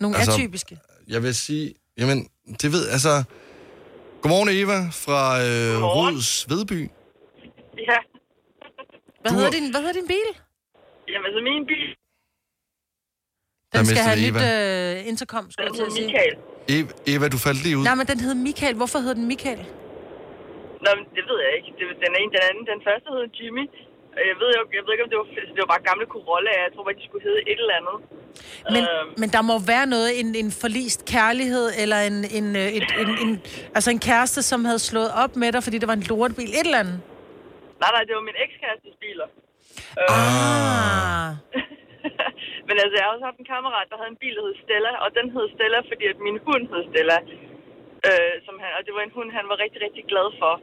Nogle Altså- altså... atypiske. jeg vil sige... Jamen, det ved... Altså... Godmorgen, Eva fra øh, Rods Vedby. Ja. Hvad, hedder din, hvad hedder din bil? Jamen, altså, så min bil, Den skal mistede have vi nyt øh, intercom, skulle jeg til at sige. Eva, Eva, du faldt lige ud. Nej, men den hed Michael. Hvorfor hed den Michael? Nå, men det ved jeg ikke. Det, den ene, den anden, den første hed Jimmy. Og Jeg ved, jeg, jeg ved ikke, om det var, fordi det var bare gamle Corolla. Jeg tror bare, de skulle hedde et eller andet. Men, Øhm. men der må være noget, en, en forlist kærlighed, eller en, en, øh, et, en, en, altså en kæreste, som havde slået op med dig, fordi det var en lortebil. Et eller andet. Nej, nej, det var min ekskærestes biler. Øh, Ah. Men altså, jeg har også haft en kammerat, der havde en bil, der hed Stella, og den hed Stella, fordi at min hund hed Stella. Øh, som han, og det var en hund, han var rigtig, rigtig glad for.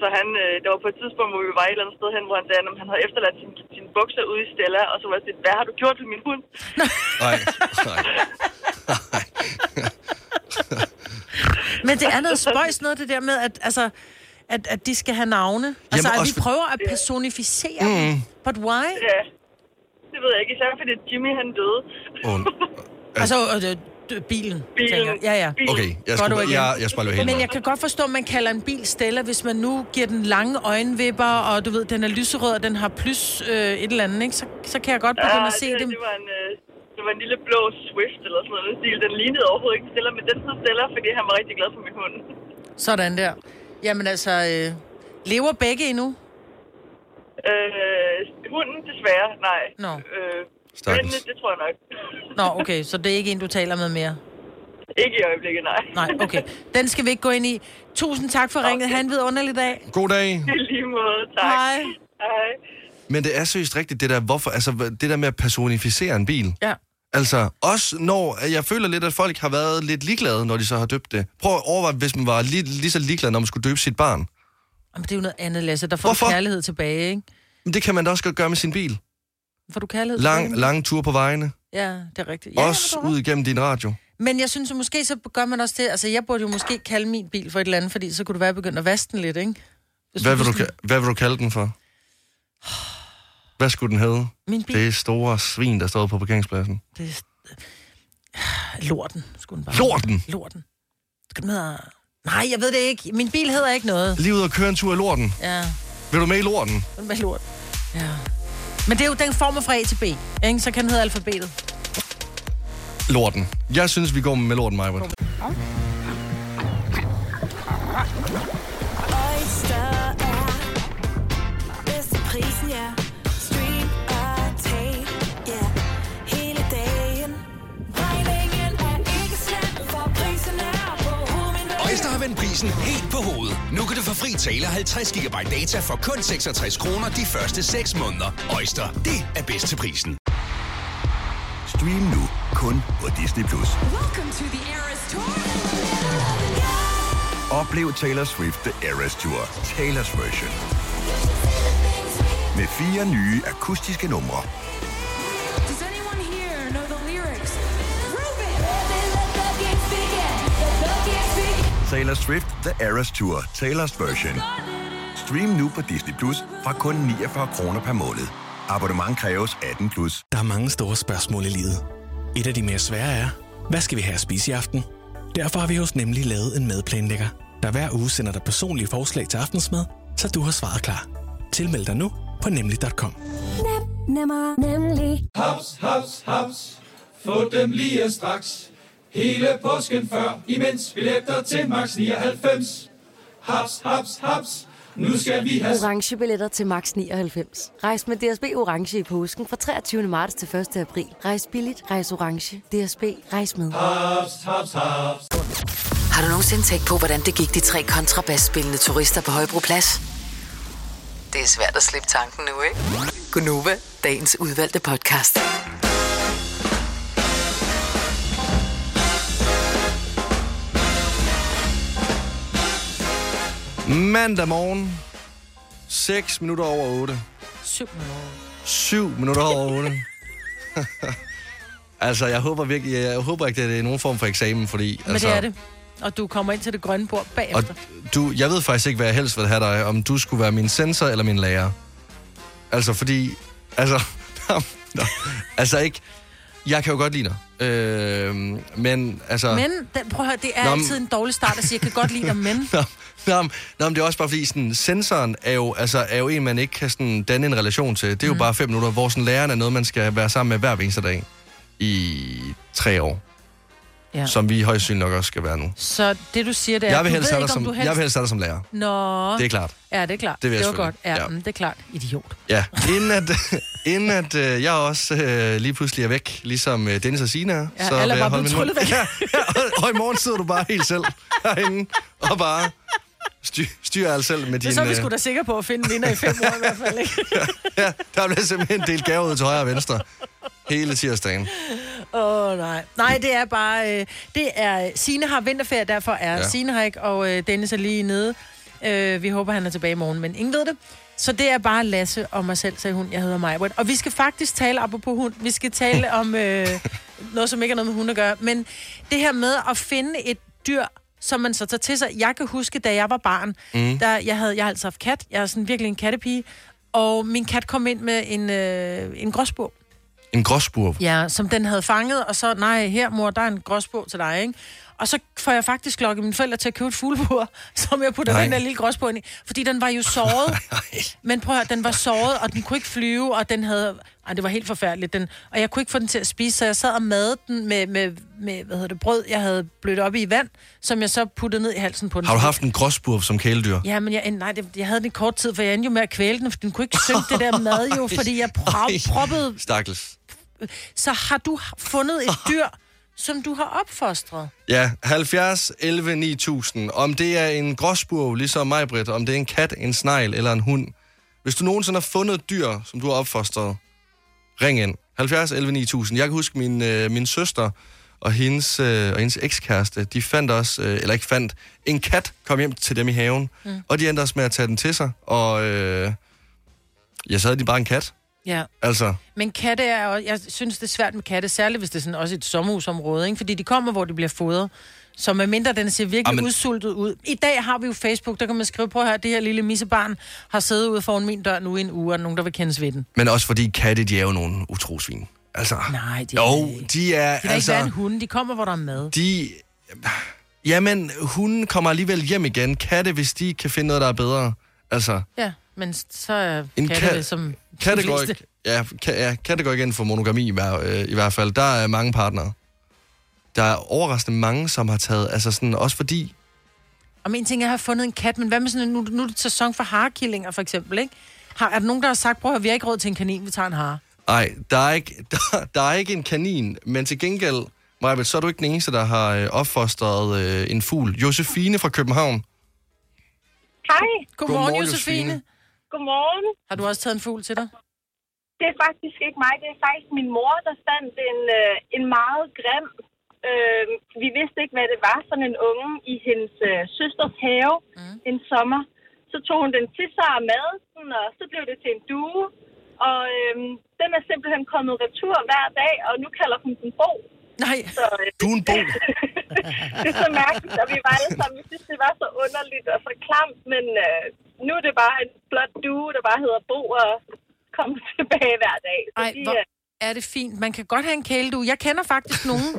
Så han, øh, det var på et tidspunkt, hvor vi var et eller andet sted hen, hvor han sagde, at han havde efterladt sin, sine bukser ude i Stella, og så var jeg sådan, hvad har du gjort ved min hund? Nej, nej. Men det er noget spøjs noget, det der med, at, altså, at, at de skal have navne. Altså, Jamen, at også vi for- prøver at personificere mm. dem. But why? Ja, det ved jeg ikke, især fordi Jimmy, han døde. Altså, øh, øh, bilen. Bilen. tænker jeg. Ja, ja. Okay, jeg Godt skulle, ord igen. jeg, jeg skulle Men jeg kan godt forstå, at man kalder en bil Stella, hvis man nu giver den lange øjenvipper, og du ved, den er lyserød, og den har plus øh, et eller andet, ikke? Så, så kan jeg godt begynde at se det, det. det var en... Øh, det var en lille blå Swift eller sådan noget. i den stil. Den lignede overhovedet ikke Stella, men den hed Stella, fordi han var rigtig glad for min hund. Sådan der. Jamen altså, øh, lever begge endnu? Øh, hunden desværre, nej. Nå. Øh, Stakkels. men det tror jeg nok. Nå, okay, så det er ikke en, du taler med mere? Ikke i øjeblikket, nej. Nej, okay. Den skal vi ikke gå ind i. Tusind tak for ringet. Han ved underlig dag. God dag. I lige måde, tak. Hej. Hej. Men det er seriøst rigtigt, det der, hvorfor, altså, hva- det der med at personificere en bil. Ja. Altså, også når, at jeg føler lidt, at folk har været lidt ligeglade, når de så har døbt det. Prøv at overveje, hvis man var lige, lige så ligeglad, når man skulle døbe sit barn. Jamen, det er jo noget andet, Lasse. Der får Hvorfor? du kærlighed tilbage, ikke? Men det kan man da også godt gøre med sin bil. Får du kærlighed Lang, tilbage? lang tur på vejene. Ja, det er rigtigt. Ja, Ja, men også du har ud igennem din radio. Men jeg synes, at måske så gør man også det. Altså, jeg burde jo måske kalde min bil for et eller andet, fordi så kunne det være, at jeg begyndte at vaske den lidt, ikke? Hvis Hvad vil, du, hvis ka- hvad vil du kalde den for? Hvad skulle den hedde? Min bil. Det store svin, der står på parkeringspladsen. Det er... Lorten, skulle den bare. Lorten? Lorten. Skal den hedde... Nej, jeg ved det ikke. Min bil hedder ikke noget. Lige ud og køre en tur i lorten. Ja, Vil du med i lorten? den var lort. Ja. Men det er jo den form fra A til B, ikke? Så kan den hedde alfabetet. Lorten. Jeg synes, vi går med lorten, Majbert. Oyster er bedst til prisen, ja. Stream og tag, ja. Hele dagen. Regningen er ikke slem, for prisen er på hovedet. Øjster har vendt prisen helt på hovedet. Nu kan du få fri tale 50 GB data for kun 66 kroner de første 6 måneder. Øjster, det er bedst til prisen. Stream nu kun på Disney+. Plus. Welcome to the Eras Tour. Oplev Taylor Swift The Eras Tour, Taylor's version. Med fire nye akustiske numre. Does anyone here know the lyrics? Taylor Swift The Eras Tour, Taylor's version. Stream nu på Disney Plus fra kun 49 kroner per måned. Abonnement kræves 18 plus. Der er mange store spørgsmål i livet. Et af de mere svære er, hvad skal vi have at spise i aften? Derfor har vi hos Nemlig lavet en madplanlægger, der hver uge sender dig personlige forslag til aftensmad, så du har svaret klar. Tilmeld dig nu på nemlig.com. Nem, nemmer, nemlig. Haps, haps, haps. Få dem lige straks. Hele påsken før, imens billetter til max 99. Haps, haps, haps. Nu skal vi have... orange billetter til max 99. Rejs med DSB orange i påsken fra 23. marts til 1. april. Rejs billigt, rejs orange. DSB rejs med. Haps, haps, haps. Har du nogensinde tænkt på, hvordan det gik de tre kontrabasspillende turister på Højbroplads? Det er svært at slippe tanken nu, ikke? Gunova, dagens udvalgte podcast. Mandag morgen. 6 minutter over 8. 7 minutter. 7 minutter over 8. altså, jeg håber virkelig, jeg håber ikke, at det er nogen form for eksamen, fordi... Men altså, det er det. Og du kommer ind til det grønne bord Og bagefter. du, jeg ved faktisk ikke, hvad jeg helst vil have dig, om du skulle være min sensor eller min lærer. Altså, fordi... Altså, nå, nå, altså ikke... Jeg kan jo godt lide dig. Øh, men altså... Men, den, prøv at høre, det er Nå, men- altid en dårlig start at sige, jeg kan godt lide dig, men... Nå, nå, men- nå, men det er også bare fordi, sådan, sensoren er jo, altså, er jo en, man ikke kan sådan, danne en relation til. Det er jo Mhm. mm. bare fem minutter, hvor sådan, læreren er noget, man skal være sammen med hver eneste dag i tre år. Ja. Ja. Som vi højst synligt nok også skal være nu. Så det, du siger, det er... jeg vil du helst ved have ikke, dig om som, du jeg vil helst have dig som lærer. Nå. Det er klart. Ja, det er klart. Det vil jeg det var godt. Ja, selvfølgelig. ja. Mm, det er klart. Idiot. Ja, inden at, inden at øh, jeg også øh, lige pludselig er væk, ligesom øh, Dennis og Sina, ja, Ja, alle er bare blevet tryllet væk. Ja, ja, og, og i morgen sidder du bare helt selv herinde og bare styr, styrer alt selv med Det er din... så er vi øh, sgu da sikre på at finde en vinder i fem år i hvert fald, ikke? ja, der bliver simpelthen delt gaver ud til højre og venstre hele tirsdagen. Åh, oh, nej. Nej, det er bare... Øh, det er... Sine har vinterferie, derfor er ja. Ja. Sine her ikke, og øh, Dennis er lige nede. Øh, vi håber, han er tilbage i morgen, men ingen ved det. Så det er bare Lasse og mig selv, sagde hun. Jeg hedder Majbert. Og vi skal faktisk tale, apropos hund, vi skal tale om øh, noget, som ikke har noget med hunde at gøre. Men det her med at finde et dyr, som man så tager til sig. Jeg kan huske, da jeg var barn, mm. Mm. der, jeg, havde, jeg har altid haft kat. Jeg er sådan virkelig en kattepige. Og min kat kom ind med en, øh, en gråsbog. En gråsburv. Ja, som den havde fanget, og så, nej, her mor, der er en gråsbog til dig, ikke? Og så får jeg faktisk lokket mine forældre til at købe et fuglebur, som jeg putter Nej. den der lille gråsbog ind i. Fordi den var jo såret. Men prøv at høre, den var såret, og den kunne ikke flyve, og den havde... Ej, det var helt forfærdeligt. Den, og jeg kunne ikke få den til at spise, så jeg sad og madede den med, med, med hvad hedder det, brød, jeg havde blødt op i vand, som jeg så puttede ned i halsen på den. Har du haft en gråsburv som kæledyr? Ja, men jeg, nej, det, jeg havde den i kort tid, for jeg endte jo med at kvæle den, for den kunne ikke synge det der mad jo, fordi jeg pro- proppede Stakkels. så har du fundet et dyr, som du har opfostret. Ja, 70, 11, 9000. Om det er en gråsburv, ligesom mig, Britt, om det er en kat, en snegl eller en hund. Hvis du nogensinde har fundet et dyr, som du har opfostret, ring ind. 70, 11, 9000. Jeg kan huske, min, øh, min søster og hendes, øh, og hendes ekskæreste, de fandt også, øh, eller ikke fandt, en kat kom hjem til dem i haven, Mm. mm. og de endte også med at tage den til sig, og øh, jeg sad de bare en kat. Ja. Altså, Men katte er også, jeg synes, det er svært med katte, særligt hvis det er sådan også et sommerhusområde, ikke? fordi de kommer, hvor de bliver fodret. Så medmindre den ser virkelig Amen. Jamen. udsultet ud. I dag har vi jo Facebook, der kan man skrive, på her, det her lille missebarn har siddet ude foran min dør nu i en uge, og der er nogen, der vil kendes ved den. men også fordi katte, de er jo nogle utrosvin. Altså, Nej, de jo, de er, De vil altså, altså... ikke være en hund, de kommer, hvor der er mad. de... Jamen, hunden kommer alligevel hjem igen. Katte, hvis de kan finde noget, der er bedre. Altså, Ja, men så er en katte vel som katte de går fleste. ikke, ja, ka, ja, katte går ikke ind for monogami i, hver, øh, i hvert fald. Der er mange partnere. Der er overraskende mange, som har taget... Altså sådan, også fordi... Om en ting er at have fundet en kat, men hvad med sådan en, nu, nu er det sæson for harekillinger for eksempel, ikke? Har, er der nogen, der har sagt, prøv at høre, vi har ikke råd til en kanin, vi tager en hare? Nej, der er ikke, der, der er ikke en kanin, men til gengæld, Majbet, så er du ikke den eneste, der har øh, opfostret øh, en fugl. Josefine fra København. Hej. Godmorgen, Josefine. Godmorgen. Har du også taget en fugl til dig? Det er faktisk ikke mig. Det er faktisk min mor, der fandt en, øh, en meget grim Øh, vi vidste ikke, hvad det var for en unge i hendes øh, søsters have mm. en sommer. Så tog hun den til sig og mad den, og så blev det til en due. Og øh, den er simpelthen kommet retur hver dag, og nu kalder hun den Bo. Nej, så, øh, du en Bo. det er så mærkeligt, og vi var alle sammen, vi synes, det var så underligt og så klamt, men øh, nu er det bare en flot due, der bare hedder Bo, og kommer tilbage hver dag. Så Ej, de, hvor øh, er det fint. Man kan godt have en kæledu. Jeg kender faktisk nogen,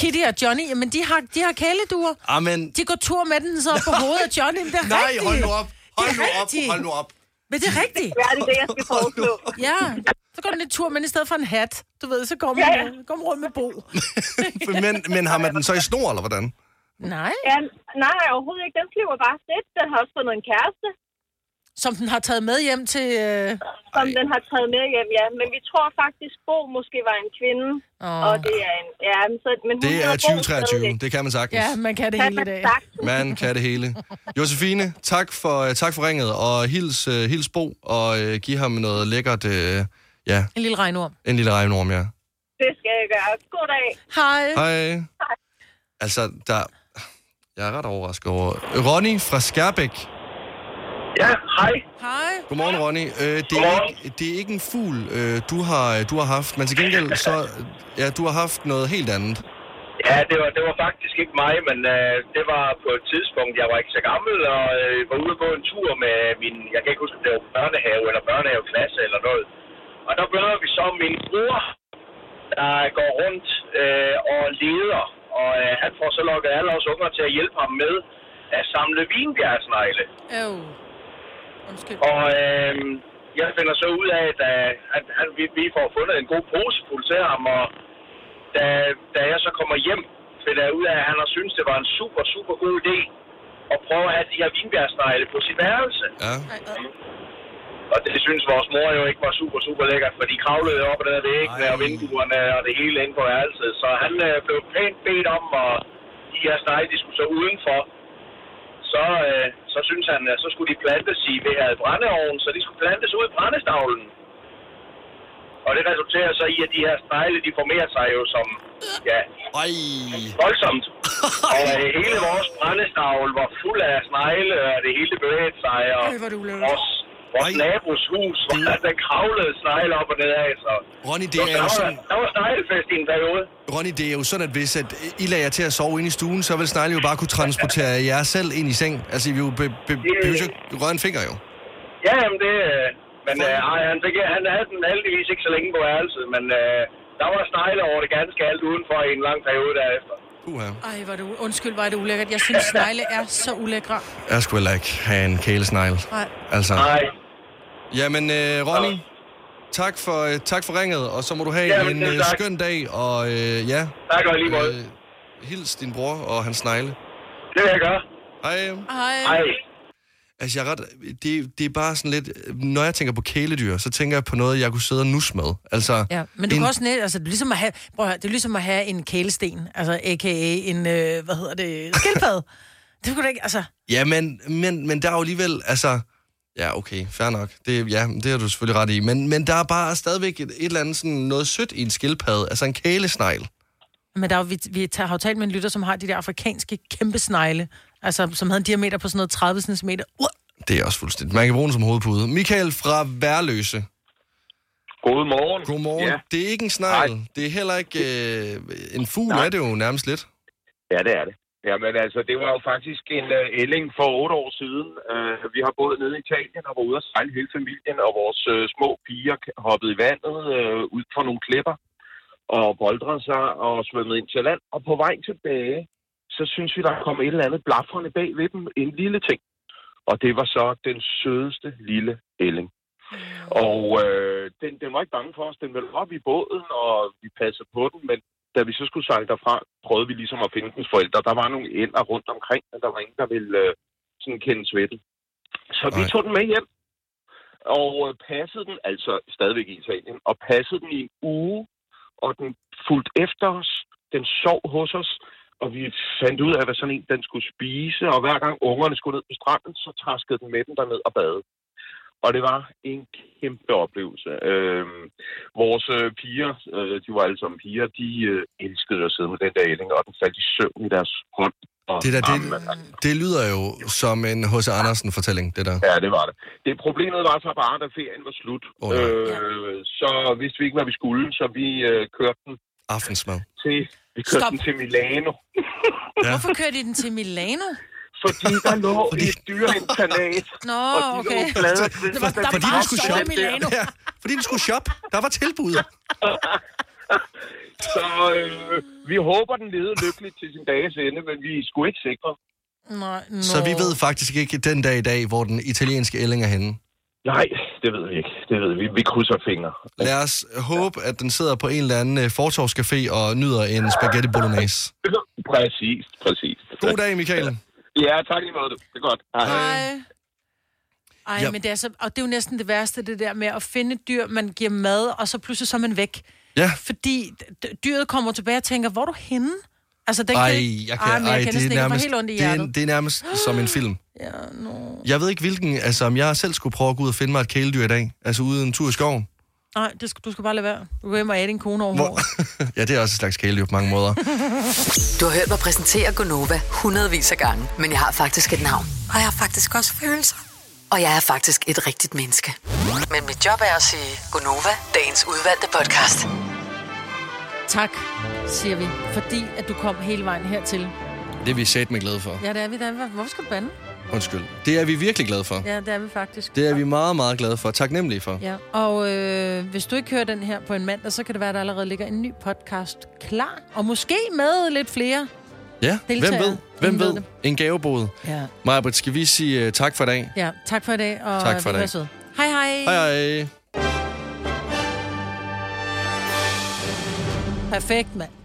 Kitty og Johnny, men de har, de har kæleduer. Amen. De går tur med den så på hovedet af Johnny, men det er Nej, rigtigt. hold nu op. Det er Hold nu op, rigtigt. hold nu op. Men det er rigtigt. Hvad er det, det, jeg skal foreslå? ja, så går den en tur, men i stedet for en hat, du ved, så går man, Ja, ja. går man rundt med bo. Men, men har man den så i snor, eller hvordan? Nej. Ja, nej, overhovedet ikke. Den flyver bare fedt. Den har også fundet en kæreste, Som den har taget med hjem til... Øh... som den har taget med hjem, ja. Men vi tror faktisk, Bo måske var en kvinde. Åh. Og det er en... Ja, men så, men hun Det er hedder Bo 2023, stadigvæk. det kan man sagtens. Ja, man kan det Kan hele i man dag. sagt. Man kan det hele. Josefine, tak for, øh, tak for ringet, og hils, øh, hils Bo, og øh, giv ham noget lækkert, øh, ja, En lille regnorm. en lille regnorm, ja. Det skal jeg gøre. God dag. Hej. Hej. Altså, der... Jeg er ret overrasket over... Ronny fra Skærbæk. Ja, hej. Hej. Godmorgen, Ronny. Øh, det, er ikke, det er ikke en fugl, øh, du, har, du har haft, men til gengæld så... Ja, du har haft noget helt andet. Ja, det var, det var faktisk ikke mig, men øh, det var på et tidspunkt, jeg var ikke så gammel, og øh, var ude på en tur med min, jeg kan ikke huske, om det var børnehave eller børnehaveklasse eller noget. Og der møder vi så min bror, der går rundt øh, og leder, og øh, han får så lukket alle os unger til at hjælpe ham med at samle vinbjergsnegle. Øv. Og øh, jeg finder så ud af, at, øh, at, at vi, vi får fundet en god pose fuld til ham, og da, da jeg så kommer hjem, finder jeg ud af, at han har syntes, det var en super, super god idé at prøve at have de her vinbjergsnegle på sit værelse. Ja. Og det synes vores mor jo ikke var super, super lækkert, for de kravlede jo op ad der væggene og vinduerne og det hele inde på værelset. Så han øh, blev pænt bedt om, og de her snegle, de skulle så udenfor. Så, øh, så synes han, at så skulle de plantes i ved her brændeovnen, så de skulle plantes ud i brændestavlen. Og det resulterer så i, at de her snegle, de formerer sig jo som, ja, Ej. voldsomt. Og øh, hele vores brændestavl var fuld af snegle, og det hele bevægede sig, og Ej, hvor er det ulækkert. vores, vores nabos hus, hvor der kravlede snegle op og ned af, så... Ronny, det Så er der jo var- sådan- Der var sneglefest i en periode. Ronny, det er jo sådan, at hvis at I lader jer til at sove inde i stuen, så vil snegle jo bare kunne transportere jer selv ind i seng. Altså, I vil jo be, be, behøver jo ikke røre en finger, jo. Ja, jamen det... øh, Men øh, ej, han, fik, han havde den heldigvis ikke så længe på værelset, men øh, der var snegle over det ganske alt udenfor i en lang periode derefter. Uha. Ej, var det u- undskyld, var det ulækkert. Jeg synes, snegle er så ulækre. Jeg skulle heller ikke have en kælesnegle. Nej. Altså. Nej. Jamen, øh, Ronny, tak for, øh, tak for ringet, og så må du have Jamen, en selv øh, tak. skøn dag, og øh, ja. Tak, og i lige måde. Øh, hils din bror og hans snegle. Det vil jeg gøre. Hej. Hej. Hej. Altså, jeg er ret, det, det er bare sådan lidt... Når jeg tænker på kæledyr, så tænker jeg på noget, jeg kunne sidde og nusse med. Altså, Ja, men du en, kan også net, altså, det er ligesom at have, prøv at høre, det er ligesom at have en kælesten, altså a.k.a. en, øh, hvad hedder det, skildpadde. det kunne du ikke, altså, Ja, men, men, men der er jo alligevel, altså... Ja, okay, fair nok. Det, ja, det har du selvfølgelig ret i. Men, men der er bare stadigvæk et, et eller andet sådan noget sødt i en skildpadde. Altså en kælesnegl. men der er, jo- vi, vi tager, har jo talt med en lytter, som har de der afrikanske kæmpe snegle, altså, som havde en diameter på sådan noget 30 cm. Uh, Det er også fuldstændig. Man kan bruge den som hovedpude. Michael fra Værløse. Godmorgen. Godmorgen. Ja. Ja. Det er ikke en snegl. Det er heller ikke... Øh, en fugl Nej. er det jo nærmest lidt. Ja, det er det. Jamen altså, det var jo faktisk en uh, ælling for otte år siden. Uh, vi har boet nede i Italien og var ude at sejle hele familien, og vores uh, små piger k- hoppede i vandet uh, ud fra nogle klipper og boldrede sig og svømmede ind til land. Og på vej tilbage, så synes vi, der kom et eller andet blafrende bag ved dem, en lille ting. Og det var så den sødeste lille ælling. Og øh, den, den var ikke bange for os. Den ville op i båden, og vi passede på den, men da vi så skulle sejle derfra, prøvede vi ligesom at finde dens forældre. Der var nogle ænder rundt omkring, men der var ingen, der ville øh, sådan kendes ved den. Så vi tog den med hjem, og øh, passede den, altså stadigvæk i Italien, og passede den i en uge, og den fulgte efter os, den sov hos os, og vi fandt ud af, hvad sådan en den skulle spise, og hver gang ungerne skulle ned på stranden, så traskede den med den derned og badede. Og det var en kæmpe oplevelse. Øh, vores øh, piger, øh, de var alle sammen piger, de øh, elskede at sidde med den der ælling, og den faldt i søvn i deres hånd. Og Det, der, armen. det, altså. det lyder jo som en H.C. Andersen-fortælling, det der. Ja, det var det. Det problemet var så bare, da ferien var slut. Åh, Oh, ja. øh, så vidste vi ikke, hvad vi skulle, så vi øh, kørte den Aftensmad. til, vi kørte Stop. den til Milano. Ja. Hvorfor kører de den til Milano? Fordi der lå et dyreinternat. Nå, og de okay. lå plader Det var- der fordi var du skulle så shoppe. Milano. Ja, fordi du skulle shoppe. Der var tilbud. Så øh, vi håber, den leder lykkeligt til sin dages ende, men vi er sgu ikke sikre. Nej, no. Så vi ved faktisk ikke den dag i dag, hvor den italienske ælling er henne. Nej, det ved vi ikke. Det ved vi. Vi krydser fingre. Lad os håbe, at den sidder på en eller anden øh, fortorvscafé og nyder en spaghetti bolognese. Præcis, præcis. God dag, Michael. Ja, tak lige måde. du. Det er godt. Hej. Hej. Ej, Ja. ja. men det er så, og det er jo næsten det værste, det der med at finde et dyr, man giver mad, og så pludselig så er man væk. Ja. Fordi d- dyret kommer tilbage og tænker, hvor er du henne? Altså, den Ej, kan, jeg kan, Ej, men jeg ej, kan det er næsten ikke, jeg får nærmest, helt ondt i det er, hjertet. det er nærmest som en film. Ja, no. Jeg ved ikke hvilken, altså om jeg selv skulle prøve at gå ud og finde mig et kæledyr i dag, altså ude en tur i skoven. Nej, det skal, du skal bare lade være. Du går hjem og æde din kone over Hvor... ja, det er også et slags kæledyr på mange måder. Du har hørt mig præsentere Gonova hundredvis af gange, men jeg har faktisk et navn. Og jeg har faktisk også følelser. Og jeg er faktisk et rigtigt menneske. Men mit job er at sige Gonova, dagens udvalgte podcast. Tak, siger vi, fordi at du kom hele vejen hertil. Det er vi sat med glade for. Ja, det er vi da. Hvorfor skal du bande? Undskyld. Det er vi virkelig glade for. Ja, det er vi faktisk. Det er vi meget, meget glade for. Taknemmelige for. Ja, og øh, hvis du ikke hører den her på en mandag, så kan det være, at der allerede ligger en ny podcast klar. Og måske med lidt flere. Ja, hvem Deltager. ved? Hvem Ingen ved? ved det. En gavebod. Ja. Maja, skal vi sige uh, tak for i dag? Ja, tak for i dag. Og Tak for i vær dag. søde. Hej hej. Hej hej. Perfekt, mand.